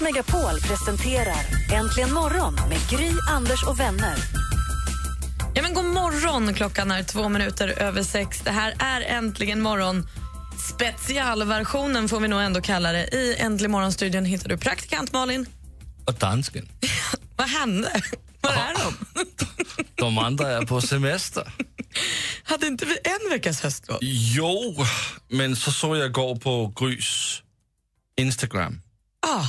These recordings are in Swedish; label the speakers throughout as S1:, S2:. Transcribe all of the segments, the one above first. S1: Megapol presenterar Äntligen morgon med Gry, Anders och vänner.
S2: Ja, men god morgon, klockan är två minuter över sex. Det här är äntligen morgon. Specialversionen får vi nog ändå kalla det. I Äntligen morgon-studion hittar du praktikant Malin.
S3: Och dansken.
S2: Vad hände? Var är de?
S3: De andra är på semester.
S2: Hade inte vi en veckas höstlov?
S3: Jo, men så såg jag igår på Grys Instagram.
S2: Ah,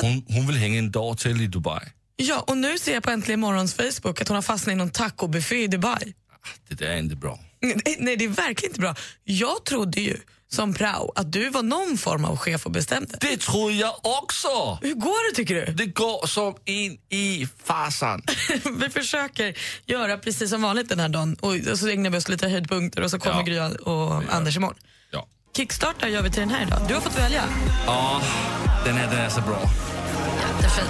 S3: Hon, hon vill hänga en dag till i Dubai.
S2: ja, och nu ser jag på Äntligen morgons Facebook att hon har fastnat i någon tacobuffé i Dubai.
S3: Det där är inte bra.
S2: Nej, nej, det är verkligen inte bra. Jag trodde ju som prao att du var någon form av chef och bestämde.
S3: Det tror jag också!
S2: Hur går det tycker du?
S3: Det går som in i fasan.
S2: vi försöker göra precis som vanligt den här dagen och och så ägnar vi oss lite höjdpunkter och så kommer
S3: Ja.
S2: Gry och Anders imorgon.
S3: Ja.
S2: Kickstartar gör vi till den här idag. Du har fått välja.
S3: Ja, den här den är så bra.
S2: Jättefin.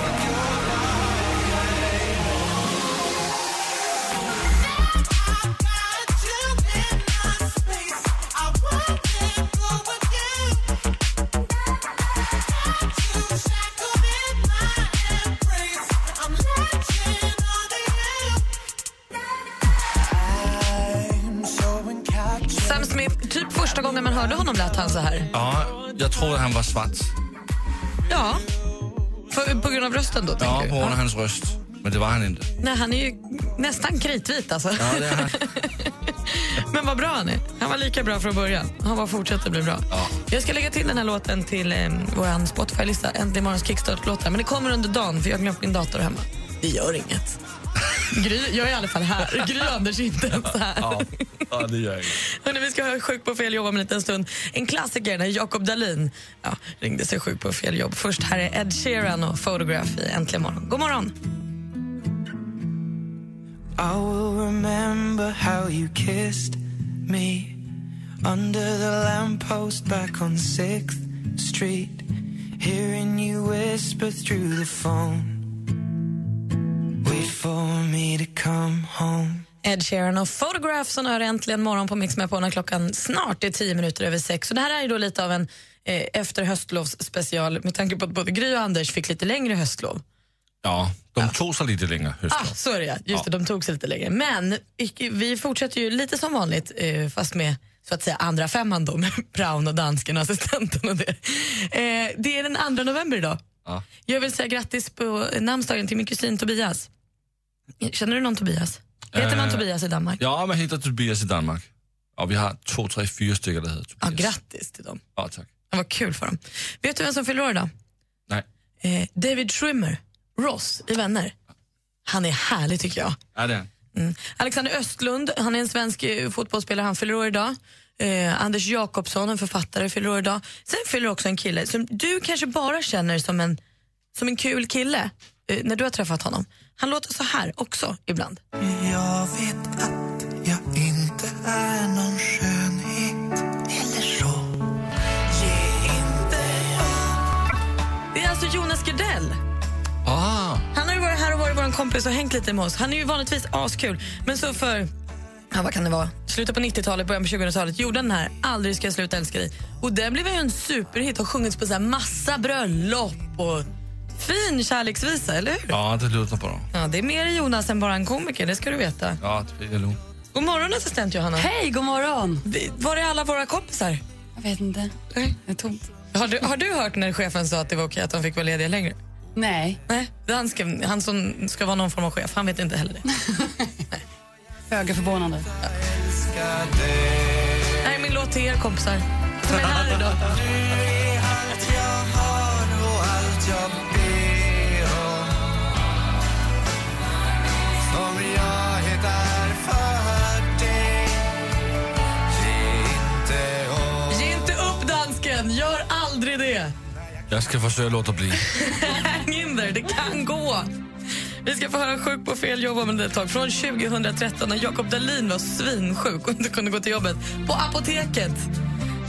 S2: Sam Smith, typ första gången man hörde honom lät han så här.
S3: Ja, jag trodde han var svart.
S2: Ja. För, på grund av rösten då,
S3: Ja,
S2: tänker
S3: på
S2: du?
S3: grund av hans röst. Men det var han inte.
S2: Nej, han är ju nästan kritvit alltså.
S3: Ja, det är han.
S2: Men vad bra han är. Han var lika bra från början. Han var fortsätter bli bra.
S3: Ja.
S2: Jag ska lägga till den här låten till eh, vår Spotify-lista. Äntligen morgons kickstart-låtar. Men det kommer under dagen för jag har glömt min dator hemma. Det gör inget. Gry, jag är i alla fall här. Gry och Anders är inte ens här.
S3: Ja, ja det gör jag inte.
S2: Hörrni, vi ska ha sjuk på fel jobb om en liten stund. En klassiker när Jakob Dalin ja, ringde sig sjuk på fel jobb. Först här är Ed Sheeran och Photograph i Äntligen morgon. God morgon!
S4: I will remember how you kissed me under the lamppost back on 6th Street, hearing you whisper through the phone. Wait for me to come home.
S2: Ed Sheeran och Photograph som hör äntligen morgon på Mix med på när klockan snart är tio minuter över sex. Så det här är ju då lite av en eh, efter höstlovsspecial med tanke på att både Gry och Anders fick lite längre höstlov.
S3: Ja, de tog sig lite längre hösten.
S2: Ah, så är det ja. Just det, de tog sig lite längre. Men icke- vi fortsätter ju lite som vanligt eh, fast med så att säga andra femman då med praon och dansken och assistenten och det. Eh, det är den 2 november idag.
S3: Ja.
S2: Jag vill säga grattis på namnsdagen till min kusin Tobias. Känner du någon Tobias? Heter man
S3: Eh,
S2: Tobias i Danmark?
S3: Ja, man hittar Tobias i Danmark. Och vi har två, tre, fyra stycken där heter
S2: Ja,
S3: Tobias.
S2: grattis till dem.
S3: Ja, tack.
S2: Det var kul för dem. Vet du vem som fyller år idag?
S3: Nej.
S2: Eh, David Schwimmer, Ross i Vänner. Han är härlig tycker jag.
S3: Ja, det är han.
S2: Mm. Alexander Östlund, han är en svensk eh, fotbollsspelare, han fyller år idag. Eh, Anders Jakobsson, en författare, fyller år idag. Sen fyller också en kille som du kanske bara känner som en, som en kul kille eh, när du har träffat honom. Han låter så här också ibland.
S4: Jag vet att jag inte är någon skönhet eller så. Ge inte
S2: Det är alltså Jonas Gardell.
S3: Ah,
S2: Han har ju varit här och varit vår kompis och hängt lite med oss. Han är ju vanligtvis askul, men så för ja, vad kan det vara? slutet på 90-talet, början på 2000-talet gjorde han den här Aldrig ska jag sluta älska dig. Och den blev ju en superhit och sjungits på så här massa bröllop och fin kärleksvisa, eller hur?
S3: ja, det låter bra.
S2: Ja, det är mer i Jonas än bara en komiker, det ska du veta.
S3: Ja, det är lugnt.
S2: God morgon assistent Johanna.
S5: Hej, god morgon!
S2: Vi- Var är alla våra kompisar?
S5: Jag vet inte.
S2: Nej.
S5: Det är tomt.
S2: Har du, har du hört när chefen sa att det var okej att de fick vara lediga längre?
S5: Nej,
S2: Nej, dansken, han som ska vara någon form av chef, han vet inte heller det.
S5: föga förvånande.
S2: Det här är min låt till er kompisar som är här idag.
S4: Allt jag har och allt jag ber om Som jag är där för dig Ge inte upp
S2: Ge inte upp dansken, gör aldrig det.
S3: Jag ska försöka låta bli.
S2: Häng in där, det kan gå. Vi ska få höra Sjuk på fel jobb om ett tag. Från 2013 när Jakob Dahlin var svinsjuk och inte kunde gå till jobbet. På apoteket.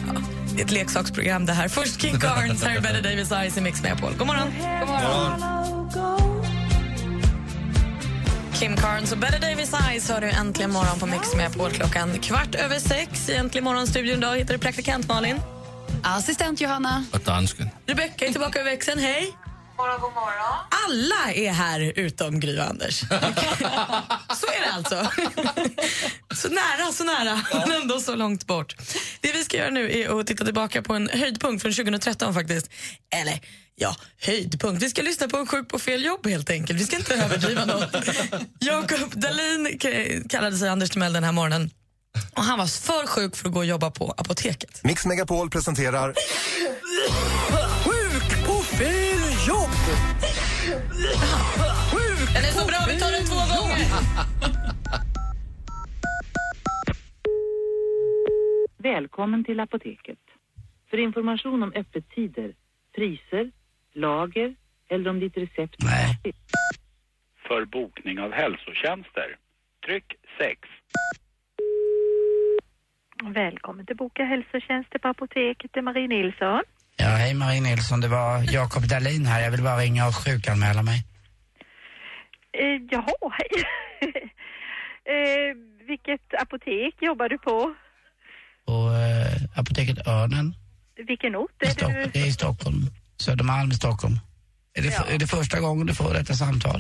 S2: Ja, det är ett leksaksprogram det här. Först King Carnes, här är Betty Davis Eyes i Mix Megapol. God morgon. God morgon. Kim Carnes och Betty Davis Eyes har du äntligen morgon på Mix Megapol. Klockan kvart över sex i Äntligen morgon-studion. Idag hittar du praktikant Malin.
S5: Assistent Johanna.
S3: Och dansken.
S2: Rebecka är tillbaka över växeln. Hej!
S6: God morgon.
S2: Alla är här utom Gry och Anders. så är det alltså. så nära, så nära, men ändå så långt bort. Det vi ska göra nu är att titta tillbaka på en höjdpunkt från 2013 faktiskt. Eller, ja, höjdpunkt. Vi ska lyssna på en sjuk på fel jobb helt enkelt. Vi ska inte överdriva något. Jakob Dahlin k- kallade sig Anders Timell den här morgonen. Och han var för sjuk för att gå och jobba på apoteket.
S7: Mix Megapol presenterar
S2: Den är så bra, vi tar den två gånger.
S6: Välkommen till Apoteket. För information om öppettider, priser, lager eller om ditt recept... Nej.
S8: för bokning av hälsotjänster. Tryck 6.
S6: Välkommen till Boka hälsotjänster på Apoteket. Det är Marie Nilsson.
S4: Ja, hej Marie Nilsson, det var Jakob Dahlin här. Jag vill bara ringa och sjukanmäla mig.
S6: Eh, jaha, hej. eh, vilket apotek jobbar du på?
S4: Och eh, apoteket Örnen
S6: Vilken ort
S4: i
S6: är
S4: Stockholm,
S6: du?
S4: det är i Stockholm. Södermalm i Stockholm. Är det, f- är det första gången du får detta samtal?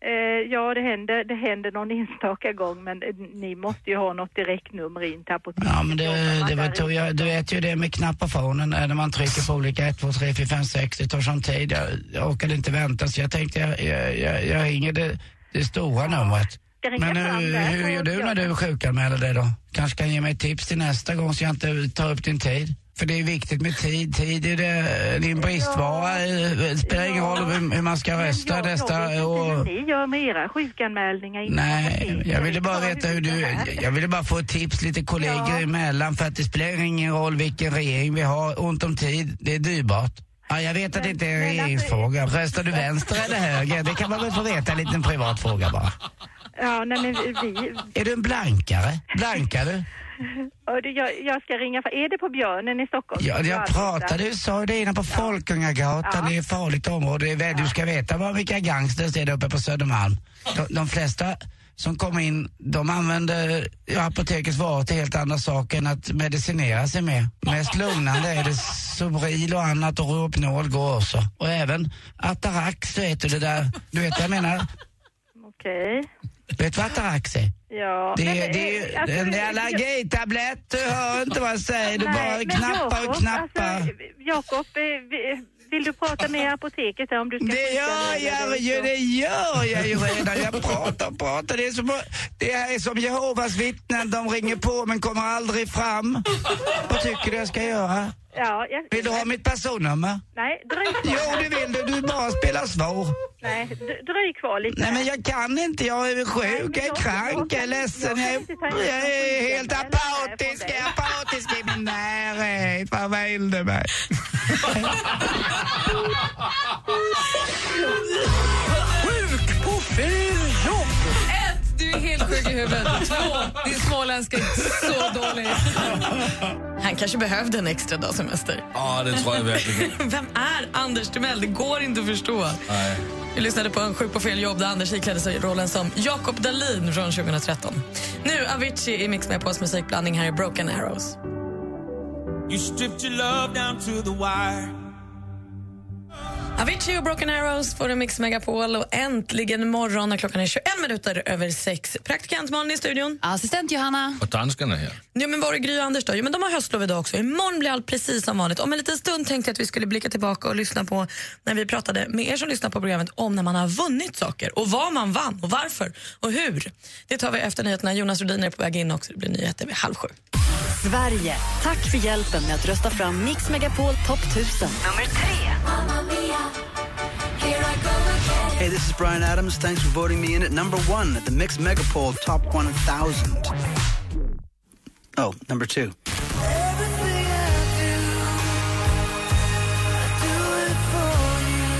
S6: Eh, ja, det händer, det händer någon enstaka gång, men eh, ni måste ju ha något direktnummer in till apoteket.
S4: Ja, men det,
S6: Jobbar man
S4: det var,
S6: där
S4: tror jag, du vet ju det med knappafonen när man trycker på olika 1, 2, 3, 4, 5, 6. Det tar sån tid. Jag, jag orkade inte vänta så jag tänkte jag, jag, jag, jag ringer det, det stora numret.
S6: Ska ringa
S4: Men
S6: fram
S4: hur,
S6: där
S4: hur
S6: och
S4: gör du
S6: göra-
S4: när du sjukanmäler dig då? Kanske kan ge mig ett tips till nästa gång så jag inte tar upp din tid. För det är viktigt med tid. Tid är det, eh, din bristvara. Det spelar ingen roll hur, hur man ska rösta
S6: jag, jag vet
S4: nästa
S6: inte hur
S4: och...
S6: ni gör med era sjukanmälningar. inom
S4: Nej,
S6: apoteket.
S4: jag ville
S6: vet
S4: bara
S6: inte vad
S4: veta hur du...
S6: det är.
S4: Jag ville bara få ett tips lite kollegor
S6: Ja.
S4: emellan för att det spelar ingen roll vilken regering vi har. Ont om tid, det är dyrbart. Ja, jag vet att det inte är en
S6: Men- men
S4: regeringsfråga. Röstar du vänster eller höger? Det kan man väl få veta, en liten privat fråga bara.
S6: Ja, nej, men vi...
S4: Är du en blankare? Blankar du?
S6: ja, du, Jag, jag ska ringa. för- Är det på Björnen i Stockholm? Alltså,
S4: Ja, jag pratade, du sa ju det innan på Folkungagatan,
S6: Ja.
S4: det är ett farligt område. Det är väl, du ska veta vad vilka gangsters det är där uppe på Södermalm. De, de flesta som kommer in, de använder ja, apotekets varor till helt andra saker än att medicinera sig med. Mest lugnande är det Sobril och annat och Rohypnol går också. Och även Atarax, du vet du det där. Du vet vad jag menar?
S6: Okej.
S4: Vet du vad Atarax är?
S6: Ja.
S4: Det,
S6: Nej, men,
S4: det är ju
S6: eh, alltså,
S4: en jävla
S6: jag-
S4: allergitablett, du hör inte vad jag säger. Du
S6: Nej,
S4: bara
S6: men
S4: knappar och
S6: Jakob,
S4: knappar.
S6: Alltså, Jakob, eh, vi- vill du prata med apoteket om du ska...
S4: Det gör jag ju, det gör jag ju redan. Jag pratar och pratar. Det är som, det är som Jehovas vittnen, de ringer på men kommer aldrig fram. Vad tycker du jag ska göra?
S6: Ja, jag...
S4: Vill du ha mitt personnummer?
S6: Nej, dröj
S4: Jo,
S6: kvar.
S4: det vill du. Du bara spelar svår.
S6: Nej, d- dröj kvar lite.
S4: Nej, men
S6: här.
S4: jag kan inte. Jag är sjuk, jag är krank, jag är ledsen. Jag är, jag är helt apatisk. Jag är apatisk i min närhet. Vad vill du mig?
S5: Ett, du är helt sjuk i huvudet. Två, din småländska är så dålig.
S2: Han kanske behövde en extra dag semester.
S3: Ja, det tror jag verkligen.
S2: Vem är Anders Timell? Det går inte att förstå.
S3: Nej.
S2: Vi lyssnade på en Sjuk på fel jobb där Anders iklädde sig rollen som Jakob Dahlin från 2013. Nu Avicii i Mix med på oss musikblandning. Här är Broken Arrows. Avicii och Broken Arrows får en Mix Megapol och äntligen morgon när klockan är 21 minuter över sex. Praktikant Malin i studion.
S5: Assistent Johanna.
S3: Och danskarna här.
S2: Ja, men var är Gry och Anders då? Jo, men de har höstlov idag också. Imorgon blir allt precis som vanligt. Om en liten stund tänkte jag att vi skulle blicka tillbaka och lyssna på när vi pratade med er som lyssnar på programmet om när man har vunnit saker och vad man vann och varför och hur. Det tar vi efter nyheterna. Jonas Rhodin är på väg in också. Det blir nyheter vid halv sju.
S1: Sverige, tack för hjälpen med att rösta fram Mix Megapol topp 1000. Nummer tre.
S4: Hey, this is Brian Adams. Thanks for voting me in at number one at the Mix Megapol Top 1000. Oh, number two.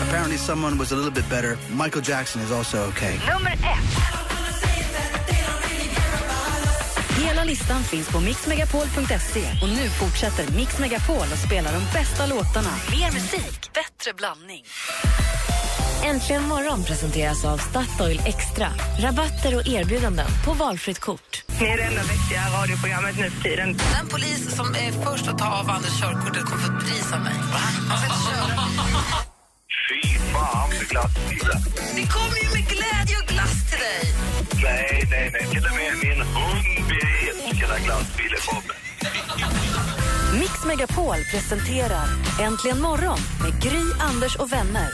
S4: Apparently,
S7: say someone was a little bit better, Michael Jackson is also okay.
S1: Nummer ett. Hela listan finns på mixmegapol.se och nu fortsätter Mix Megapol att spela de bästa låtarna. Mer musik, bättre blandning.
S9: Äntligen morgon presenteras av Statoil Extra. Rabatter och erbjudanden på valfritt kort.
S10: Ni är det enda vettiga radioprogrammet nu för tiden. Den polis som är först att ta av Anders körkortet kommer få ett pris av mig. Han ska inte köra.
S11: Fy fan för glassbilen.
S10: Vi kommer ju med glädje och glass till dig.
S11: Nej, nej, nej. Till och med min hund blir ilsken när glassbilen kommer.
S1: Mix Megapol presenterar Äntligen morgon med Gry, Anders och vänner.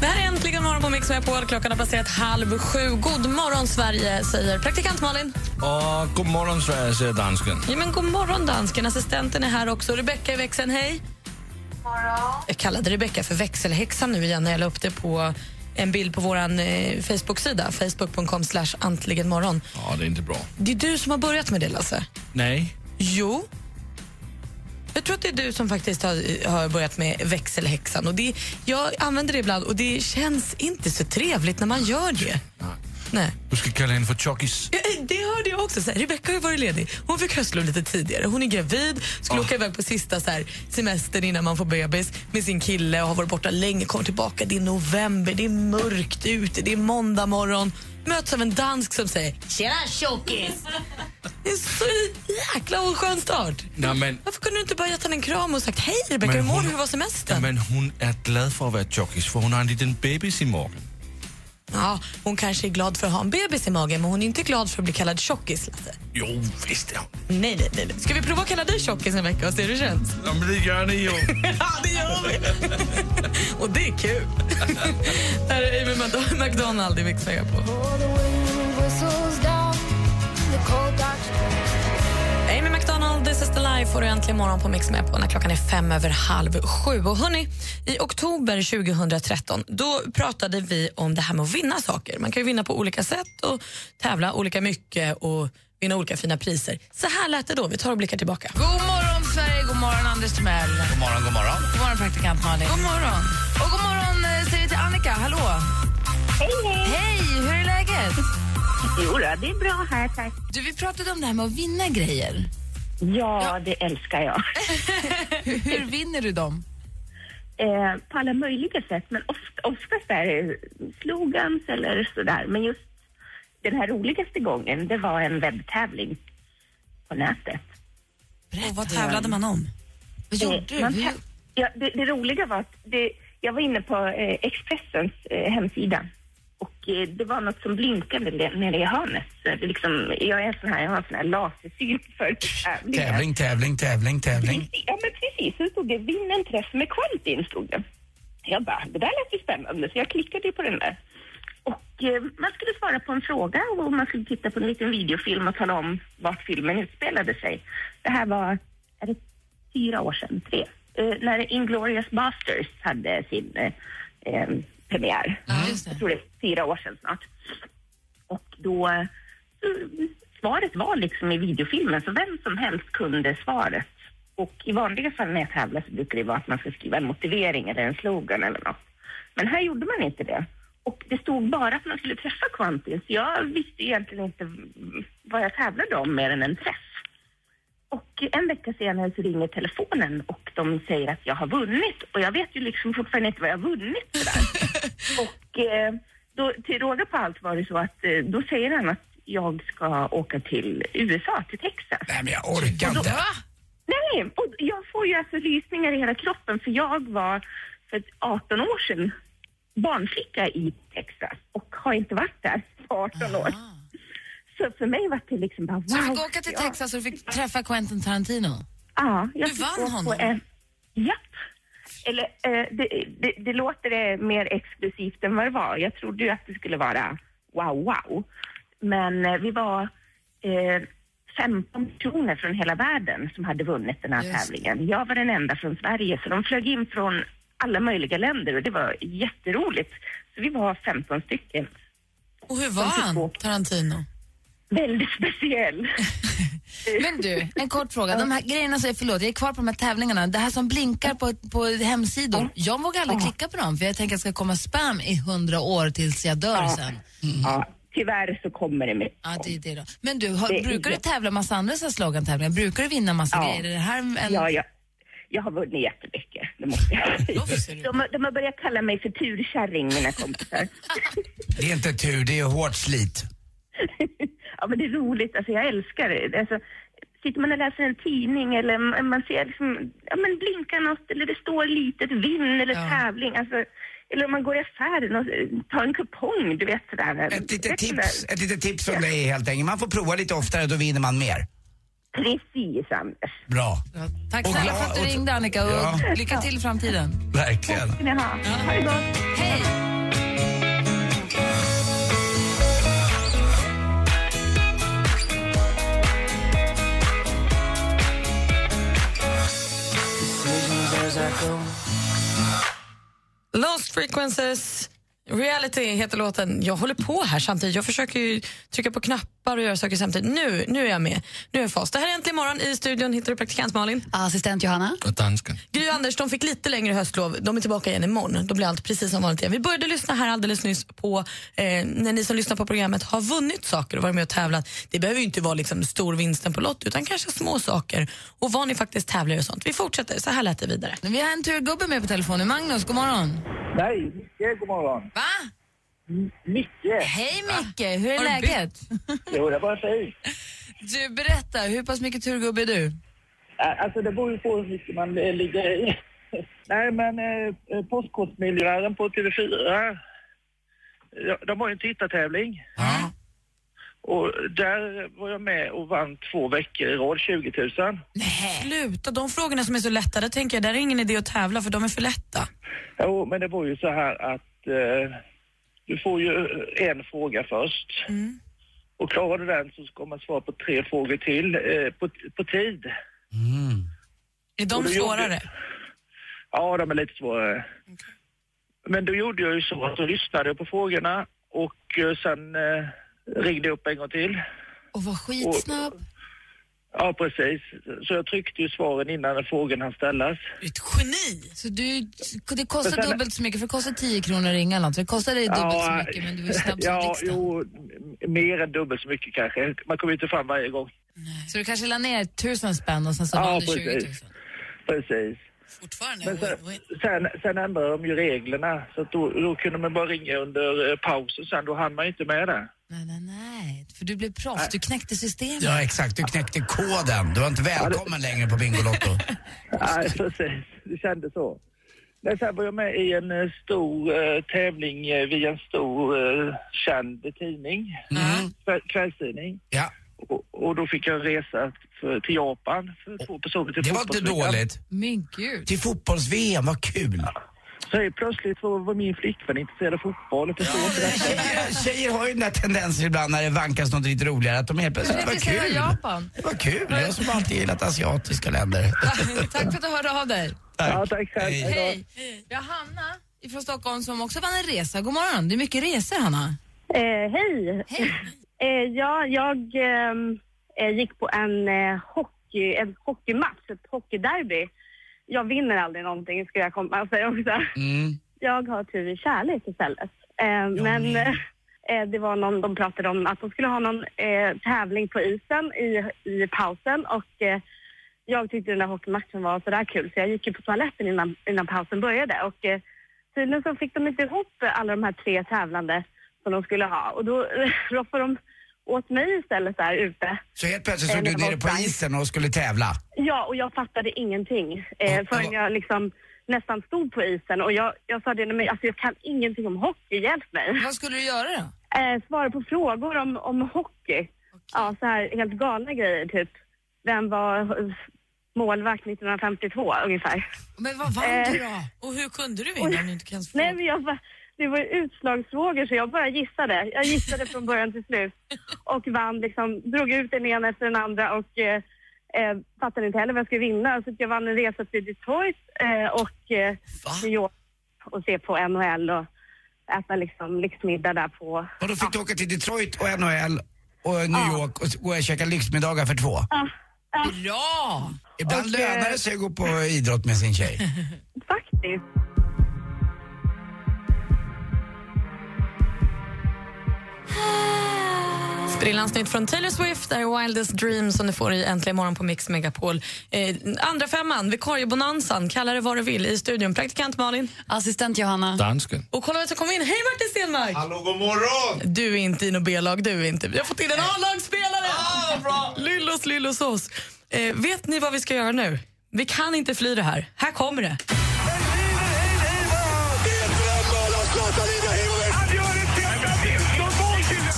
S2: Det här är äntligen morgon på Mix Megapol. Klockan har passerat halv sju. God morgon, Sverige, säger praktikant Malin.
S3: Och god morgon Sverige, säger dansken.
S2: Ja, men god morgon, dansken. Assistenten är här också. Rebecka i växeln, hej. Jag kallade Rebecka för växelhäxan nu igen när jag la upp det på en bild på vår eh, Facebook-sida, facebook.com slash antligenmorgon.
S3: Ja, det är inte bra.
S2: Det är du som har börjat med det, Lasse.
S3: Nej.
S2: Jo. Jag tror att det är du som faktiskt har, har börjat med växelhäxan. Och det, jag använder det ibland och det känns inte så trevligt när man gör det. Nej.
S3: Du ska kalla henne för tjockis.
S2: Ja, eh, Det hörde jag också. Så här, Rebecca har ju varit ledig. Hon fick höstlov lite tidigare. Hon är gravid, skulle
S3: Ah.
S2: åka iväg på sista så här, semestern innan man får bebis med sin kille och har varit borta länge. Kommer tillbaka, det är november, det är mörkt ute, det är måndag morgon. Möts av en dansk som säger “Tjena tjockis!” Det är så jäkla oskön start.
S3: Nej, men,
S2: Varför kunde du inte bara gett henne en kram och sagt “Hej Rebecca,
S3: Men
S2: hur mår
S3: hon-
S2: du? Hur var semestern?”
S3: men hon är glad för att vara tjockis, för hon har en liten bebis i magen.
S2: Ja, hon kanske är glad för att ha en bebis i magen men hon är inte glad för att bli kallad tjockis, Lasse.
S3: Jo, visst är hon.
S2: Nej, nej, nej. nej. Ska vi prova att kalla dig tjockis en vecka och se hur det känns?
S3: Ja, men det gör ni ju.
S2: ja, det gör vi. och det är kul. Här är Amy Mc- McDonald i Mix på. Amy McDonald, This is the life får du äntligen morgon på Mix med på när klockan är fem över halv sju. Och hörni, i oktober 2013 då pratade vi om det här med att vinna saker. Man kan ju vinna på olika sätt och tävla olika mycket och vinna olika fina priser. Så här lät det då. Vi tar och blickar tillbaka.
S5: God morgon, Sverige. God morgon, Anders Timell.
S12: God morgon, god morgon.
S5: God morgon, praktikant Malin. God morgon. Och god morgon eh, säger vi till Annika. Hallå. Hej, hej. Hej, hur är läget?
S13: Jo, då, det är bra här, tack.
S5: Du, vi pratade om det här med att vinna grejer.
S13: Ja, det älskar jag.
S5: Hur, hur vinner du dem?
S13: Eh, på alla möjliga sätt, men oft, oftast är det eh, slogans eller sådär. Men just den här roligaste gången, det var en webbtävling på nätet.
S2: Och vad tävlade man om?
S5: Vad gjorde du?
S13: man tä-
S5: Hur-
S13: ja, det, det roliga var att det, jag var inne på eh, Expressens eh, hemsida och eh, det var något som blinkade nere- nere i hörnet. Så det liksom, jag, är en sån här, jag har en sån här lasersyn för tävlingar.
S12: Tävling, tävling, tävling, tävling.
S13: Ja, men precis. Så stod det vinn en träff med Quentin, stod det. Jag bara, det där lät ju spännande, så jag klickade ju på den där. Och eh, man skulle svara på en fråga och man skulle titta på en liten videofilm och tala om vart filmen utspelade sig. Det här var, är det fyra år sedan, tre? Eh, när Inglourious Basterds hade sin eh, eh, premiär. Jag tror det är fyra år sedan snart. Och då, eh, svaret var liksom i videofilmen, så vem som helst kunde svaret. Och i vanliga fall när jag tävlar så brukar det vara att man ska skriva en motivering eller en slogan eller något. Men här gjorde man inte det. Och det stod bara att man skulle träffa Quentin, så jag visste egentligen inte mm, vad jag tävlade om mer än en träff. Och en vecka senare så ringer telefonen och de säger att jag har vunnit och jag vet ju liksom fortfarande inte vad jag har vunnit för där. och eh, då, till råga på allt var det så att eh, då säger han att jag ska åka till USA, till Texas.
S12: Nej, men jag orkar
S13: Och då-
S12: inte.
S13: Nej, och jag får ju alltså rysningar i hela kroppen för jag var för 18 år sedan barnflicka i Texas och har inte varit där på 18 år. Så för mig var det liksom bara wow.
S5: Så du fick åka till
S13: ja.
S5: Texas och du fick träffa Quentin Tarantino?
S13: Ja, jag
S5: Du
S13: fick
S5: vann
S13: gå på
S5: honom.
S13: En, japp. Eller, eh, det, det, det låter eh, mer exklusivt än vad det var. Jag trodde ju att det skulle vara wow, wow. Men eh, vi var eh, 15 personer från hela världen som hade vunnit den här tävlingen. Jag var den enda från Sverige, så de flög in från alla möjliga länder och det var jätteroligt. Så vi var 15 stycken. typ
S5: Och hur var han, Tarantino?
S13: Väldigt speciell.
S5: Men du, en kort fråga. De här grejerna, som, förlåt, jag är kvar på de här tävlingarna. Det här som blinkar på, på hemsidor, jag vågar aldrig klicka på dem för jag tänker att det ska komma spam i hundra år tills jag dör
S13: Ja.
S5: sen.
S13: Ja, tyvärr så kommer det med.
S5: Ja, det är det då. Men du, har,
S13: Det är
S5: brukar du
S13: det.
S5: tävla massa andra så här slogantävlingar? Brukar du vinna massa grejer? Är det här en...
S13: Ja, ja. Jag har vunnit jättemycket, det måste jag säga. De, har- de har börjat kalla mig för turkärring, mina kompisar.
S12: Det är inte tur, det är hårt slit.
S13: ja, men det är roligt. Alltså, jag älskar det. Alltså, sitter man och läser en tidning eller m- man ser liksom, ja, men blinkar något eller det står litet vinn eller tävling. Alltså, eller om man går i affären och eh, tar en kupong, du vet sådär.
S12: Ett litet tips, ett litet tips från dig helt enkelt. Man får prova lite oftare, då vinner man mer.
S13: Precis, Anders.
S12: Bra,
S5: Tack
S12: Och
S5: snälla
S12: glad-
S5: för att du
S12: och-
S5: ringde Annika och
S12: Ja.
S5: lycka till i framtiden.
S12: verkligen.
S13: Ni ha. Ha det gott.
S5: Hej!
S2: Lost Frequences Reality heter låten. Jag håller på här samtidigt. Jag försöker ju trycka på knappar och göra saker samtidigt. Nu, nu är jag med. Nu är jag fast. Det här är Äntligen morgon. I studion hittar du praktikant Malin.
S14: Assistent Johanna.
S2: Och dansken. Gry och Anders de fick lite längre höstlov. De är tillbaka igen imorgon. Då blir allt precis som vanligt igen. Vi började lyssna här alldeles nyss på eh, när ni som lyssnar på programmet har vunnit saker och varit med och tävlat. Det behöver ju inte vara liksom storvinsten på lott utan kanske små saker och vad ni faktiskt tävlar i och sånt. Vi fortsätter. Så här lät det vidare.
S5: Vi har en turgubbe med på telefonen. Magnus, god morgon.
S15: Nej, Micke, god morgon.
S5: Va?
S15: Micke.
S5: Hej Micke, hur är
S15: Har du
S5: läget?
S15: Jo, det var fint.
S5: Du, berätta. Hur pass mycket turgubbe är du?
S15: Ä- Alltså, det beror ju på hur mycket man eh, ligger i. Nej, men eh, eh, Postkodmiljonären på TV4, ja, de har ju en tittartävling. Och där var jag med och vann två veckor i rad, 20 000.
S2: Sluta, de frågorna som är så lätta, där tänker jag, där är ingen idé att tävla för de är för lätta.
S15: Jo, men det var ju så här att eh, du får ju en fråga först.
S16: Mm.
S15: Och klarar du den så ska man svara på tre frågor till eh, på, på tid.
S2: Är
S15: Och
S2: de
S15: då
S2: svårare?
S15: Gjorde... Ja, de är lite svårare. Men då gjorde jag ju så att jag lyssnade på frågorna och eh, sen eh, ringde jag upp en gång till.
S5: Och var skitsnabb.
S15: Ja, precis. Så jag tryckte ju svaren innan frågan hann ställas.
S2: Ett geni!
S5: Så du, det kostar
S15: Men sen-
S5: dubbelt så mycket, för det kostar 10 kronor att ringa eller något. Så Det kostar dig dubbelt så mycket, men du är snabb som
S15: ja,
S5: blixten.
S15: jo, m- mer än dubbelt så mycket kanske. Man kommer ju inte fram varje gång.
S5: Så du kanske la ner tusen spänn och sen så vann du 20 000.
S15: Precis.
S5: Fortfarande
S15: Men sen, sen, sen ändrade de ju reglerna, så att då, då kunde man bara ringa under eh, pausen sen, då hann man ju inte med det.
S5: För du blev proffs, du knäckte systemet.
S12: Ja, exakt. Du knäckte koden. Du var inte välkommen längre på Bingolotto.
S15: Nej, precis. Det kändes så. Men sen var jag med i en eh, stor eh, tävling eh, via en stor eh, känd tidning,
S12: Mm.
S15: kväll, kvällstidning.
S12: Ja.
S15: Och, och då fick jag en resa för, till Japan för två personer till
S12: Det var inte
S15: fotbolls-VM.
S12: dåligt.
S5: Min gud.
S12: Till fotbolls-VM, vad kul.
S15: Så helt plötsligt så var min flickvän intresserad av fotboll och förstod inte detta.
S12: Tjejer- Tjejer har ju den där tendensen ibland när det vankas något lite roligare att de helt plötsligt, vad
S5: Intresserad av
S12: kul.
S5: Japan.
S12: Vad kul. Jag som alltid gillat asiatiska länder.
S5: Tack för att du hörde av dig.
S12: Tack.
S5: Hej. Vi har Hanna från Stockholm som också vann en resa. God morgon. Det är mycket resor, Hanna.
S17: Eh, hej! Eh, ja, jag ehm, eh, gick på en, eh, hockey, en hockeymatch, ett hockeyderby. Jag vinner aldrig någonting, skulle jag komma och säga också.
S12: Mm.
S17: Jag har tur i kärlek istället. Eh, men eh, det var någon, de pratade om att de skulle ha någon eh, tävling på isen i, i pausen och eh, jag tyckte den där hockeymatchen var sådär kul så jag gick ju på toaletten innan, innan pausen började och eh, tydligen så fick de inte ihop alla de här tre tävlande som de skulle ha och då roffade de åt mig istället där ute.
S12: Så helt plötsligt stod
S17: Eh, när
S12: du
S17: det var
S12: nere på
S17: offside.
S12: isen och skulle tävla.
S17: Ja, och jag fattade ingenting eh, förrän jag liksom nästan stod på isen och jag, jag sa det, "Nej, men alltså jag kan ingenting om hockey, hjälp mig.
S5: Vad skulle du göra då?
S17: Eh, svara på frågor om, om hockey. Ja, så här helt galna grejer typ. Vem var eh, målvakt 1952 ungefär?
S2: Men vad vann
S17: Eh.
S2: du då? Och hur kunde du vinna om du inte kan få?
S17: Nej, men jag bara, det var ju utslagsfrågor så jag bara gissade. Jag gissade från början till slut och vann liksom, drog ut den ena efter den andra och eh, eh, fattade inte heller vad jag skulle vinna. Så att jag vann en resa till Detroit eh, och eh, New York och se på NHL och äta liksom lyxmiddag där på...
S12: Och då fick du åka till Detroit och NHL och New York och s- går jag och käkar lyxmiddagar för två.
S5: Bra!
S12: Ibland lönar det sig att gå på idrott med sin tjej.
S17: Faktiskt.
S2: Sprillans nytt från Taylor Swift är Wildest Dream som du får i Äntligen morgon på Mix Megapol. Eh, andra femman, vikariebonanzan, kalla det vad du vill. I studion, praktikant Malin.
S14: Assistent Johanna.
S2: Dansken. Och kolla vem som kom in. Hej Martin Stenmark! Hallå, god morgon! Du är inte i något B-lag, du är inte. Vi har fått in en A-lagsspelare! Lyllos, lyllos oss. Eh, vet ni vad vi ska göra nu? Vi kan inte fly det här. Här kommer det.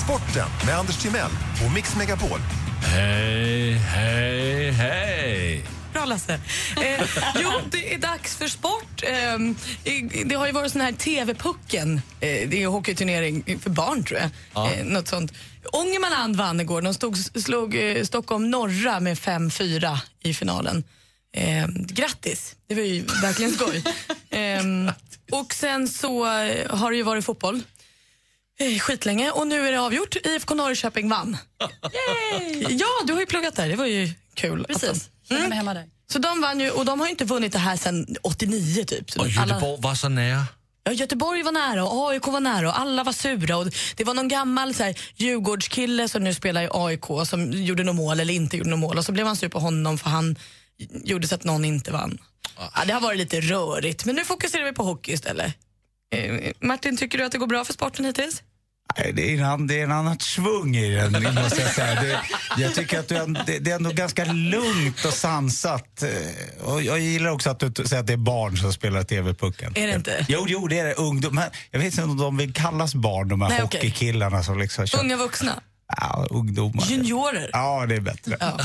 S18: Sporten med Anders Timell och Mix Megapol.
S3: Hej, hej, hej!
S2: Bra Lasse. Eh, jo, det är dags för sport. Ehm, i- det har ju varit sån här TV-pucken. Eh, det är hockeyturnering för barn tror jag.
S14: Ja.
S2: Eh, något sånt. Ångermanland vann igår. De stod, slog eh, Stockholm norra med 5-4 i finalen. Eh, grattis, det var ju verkligen skoj. Ehm, och sen så eh, har det ju varit fotboll eh, skitlänge och nu är det avgjort. IFK Norrköping vann. Ja, du har ju pluggat där. Det var ju kul. Precis. Mm. Hemma där. Så de vann ju, och de har ju inte vunnit det här sedan 89 typ. Så
S3: Och
S2: alla-
S3: Göteborg var så nära.
S2: Ja, Göteborg var nära och AIK var nära och alla var sura. Och det var någon gammal så här, Djurgårdskille som nu spelar i AIK som gjorde något mål eller inte gjorde något mål och så blev man sur på honom för han gjorde så att någon inte vann. Ja, det har varit lite rörigt, men nu fokuserar vi på hockey istället. Eh, Martin, tycker du att det går bra för sporten hittills?
S12: Nej, det är en, an- det är en annan svung i den, det måste jag säga. Det, jag tycker att du, är- det, det är ändå ganska lugnt och sansat. eh, Och jag gillar också att du t- säger att det är barn som spelar TV-pucken.
S2: Är det inte?
S12: Jo, jo, det är det. Ungdom, men jag vet inte om de vill kallas barn, de här
S2: Nej, okej.
S12: hockeykillarna som liksom kör.
S2: Unga vuxna?
S12: Ja, ungdomar.
S2: Juniorer?
S12: Ja, det är bättre. Ja.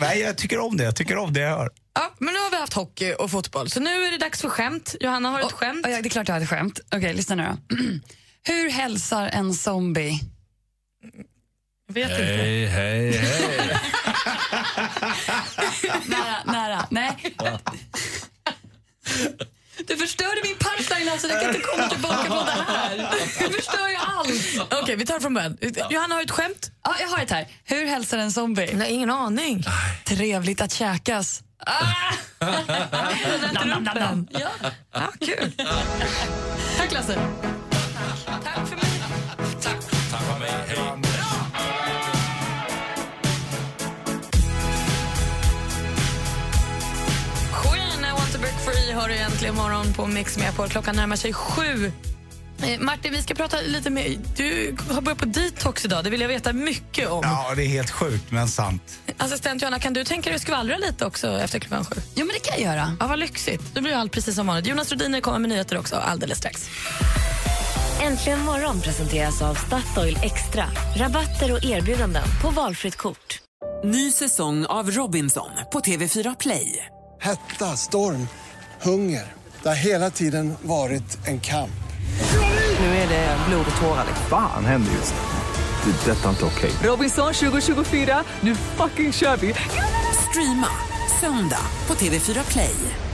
S12: Nej, jag tycker om det. Jag tycker om det jag hör.
S2: Ja, men nu har vi haft hockey och fotboll, så nu är det dags för skämt. Johanna, har du ett skämt?
S14: Ja, det är klart jag hade skämt. Okej, lyssna nu då. Hur hälsar en zombie?
S2: Vet
S3: Hej, hej, hej!
S14: nära, nära. Nej. Du förstörde min punchline alltså, jag kan inte komma tillbaka på det här. Du förstör ju allt.
S2: Eh. Okej, vi tar från början. Johanna har ett skämt.
S14: Ja, jag har ett här. Hur hälsar en zombie?
S2: Nej, ingen aning.
S14: Trevligt att käkas. Nam, nam, nam, nam.
S2: Ja. Ja, Ah, kul. Tack Lasse. Queen, I want to break free hör du egentligen imorgon på Mix med på. Klockan närmar sig sju. Eh, Martin, vi ska prata lite med... Du har börjat på detox idag, det vill jag veta mycket om.
S12: Ja, det är helt sjukt, men sant.
S2: Assistent Johanna, kan du tänka dig att skvallra lite också efter klockan sju?
S14: Jo, men det kan jag göra.
S2: Ja, vad lyxigt. Då blir allt precis som vanligt. Jonas Rhodiner kommer med nyheter också alldeles strax.
S9: Äntligen morgon presenteras av Statoil Extra. Rabatter och erbjudanden på valfritt kort.
S16: Ny säsong av Robinson på TV4 Play.
S19: Hetta, storm, hunger. Det har hela tiden varit en kamp.
S16: Nu är det blod och tårar. liksom.
S20: Fan händer just det. Det är detta inte okej.
S16: Robinson 2024, nu fucking kör vi! Streama söndag på TV4 Play.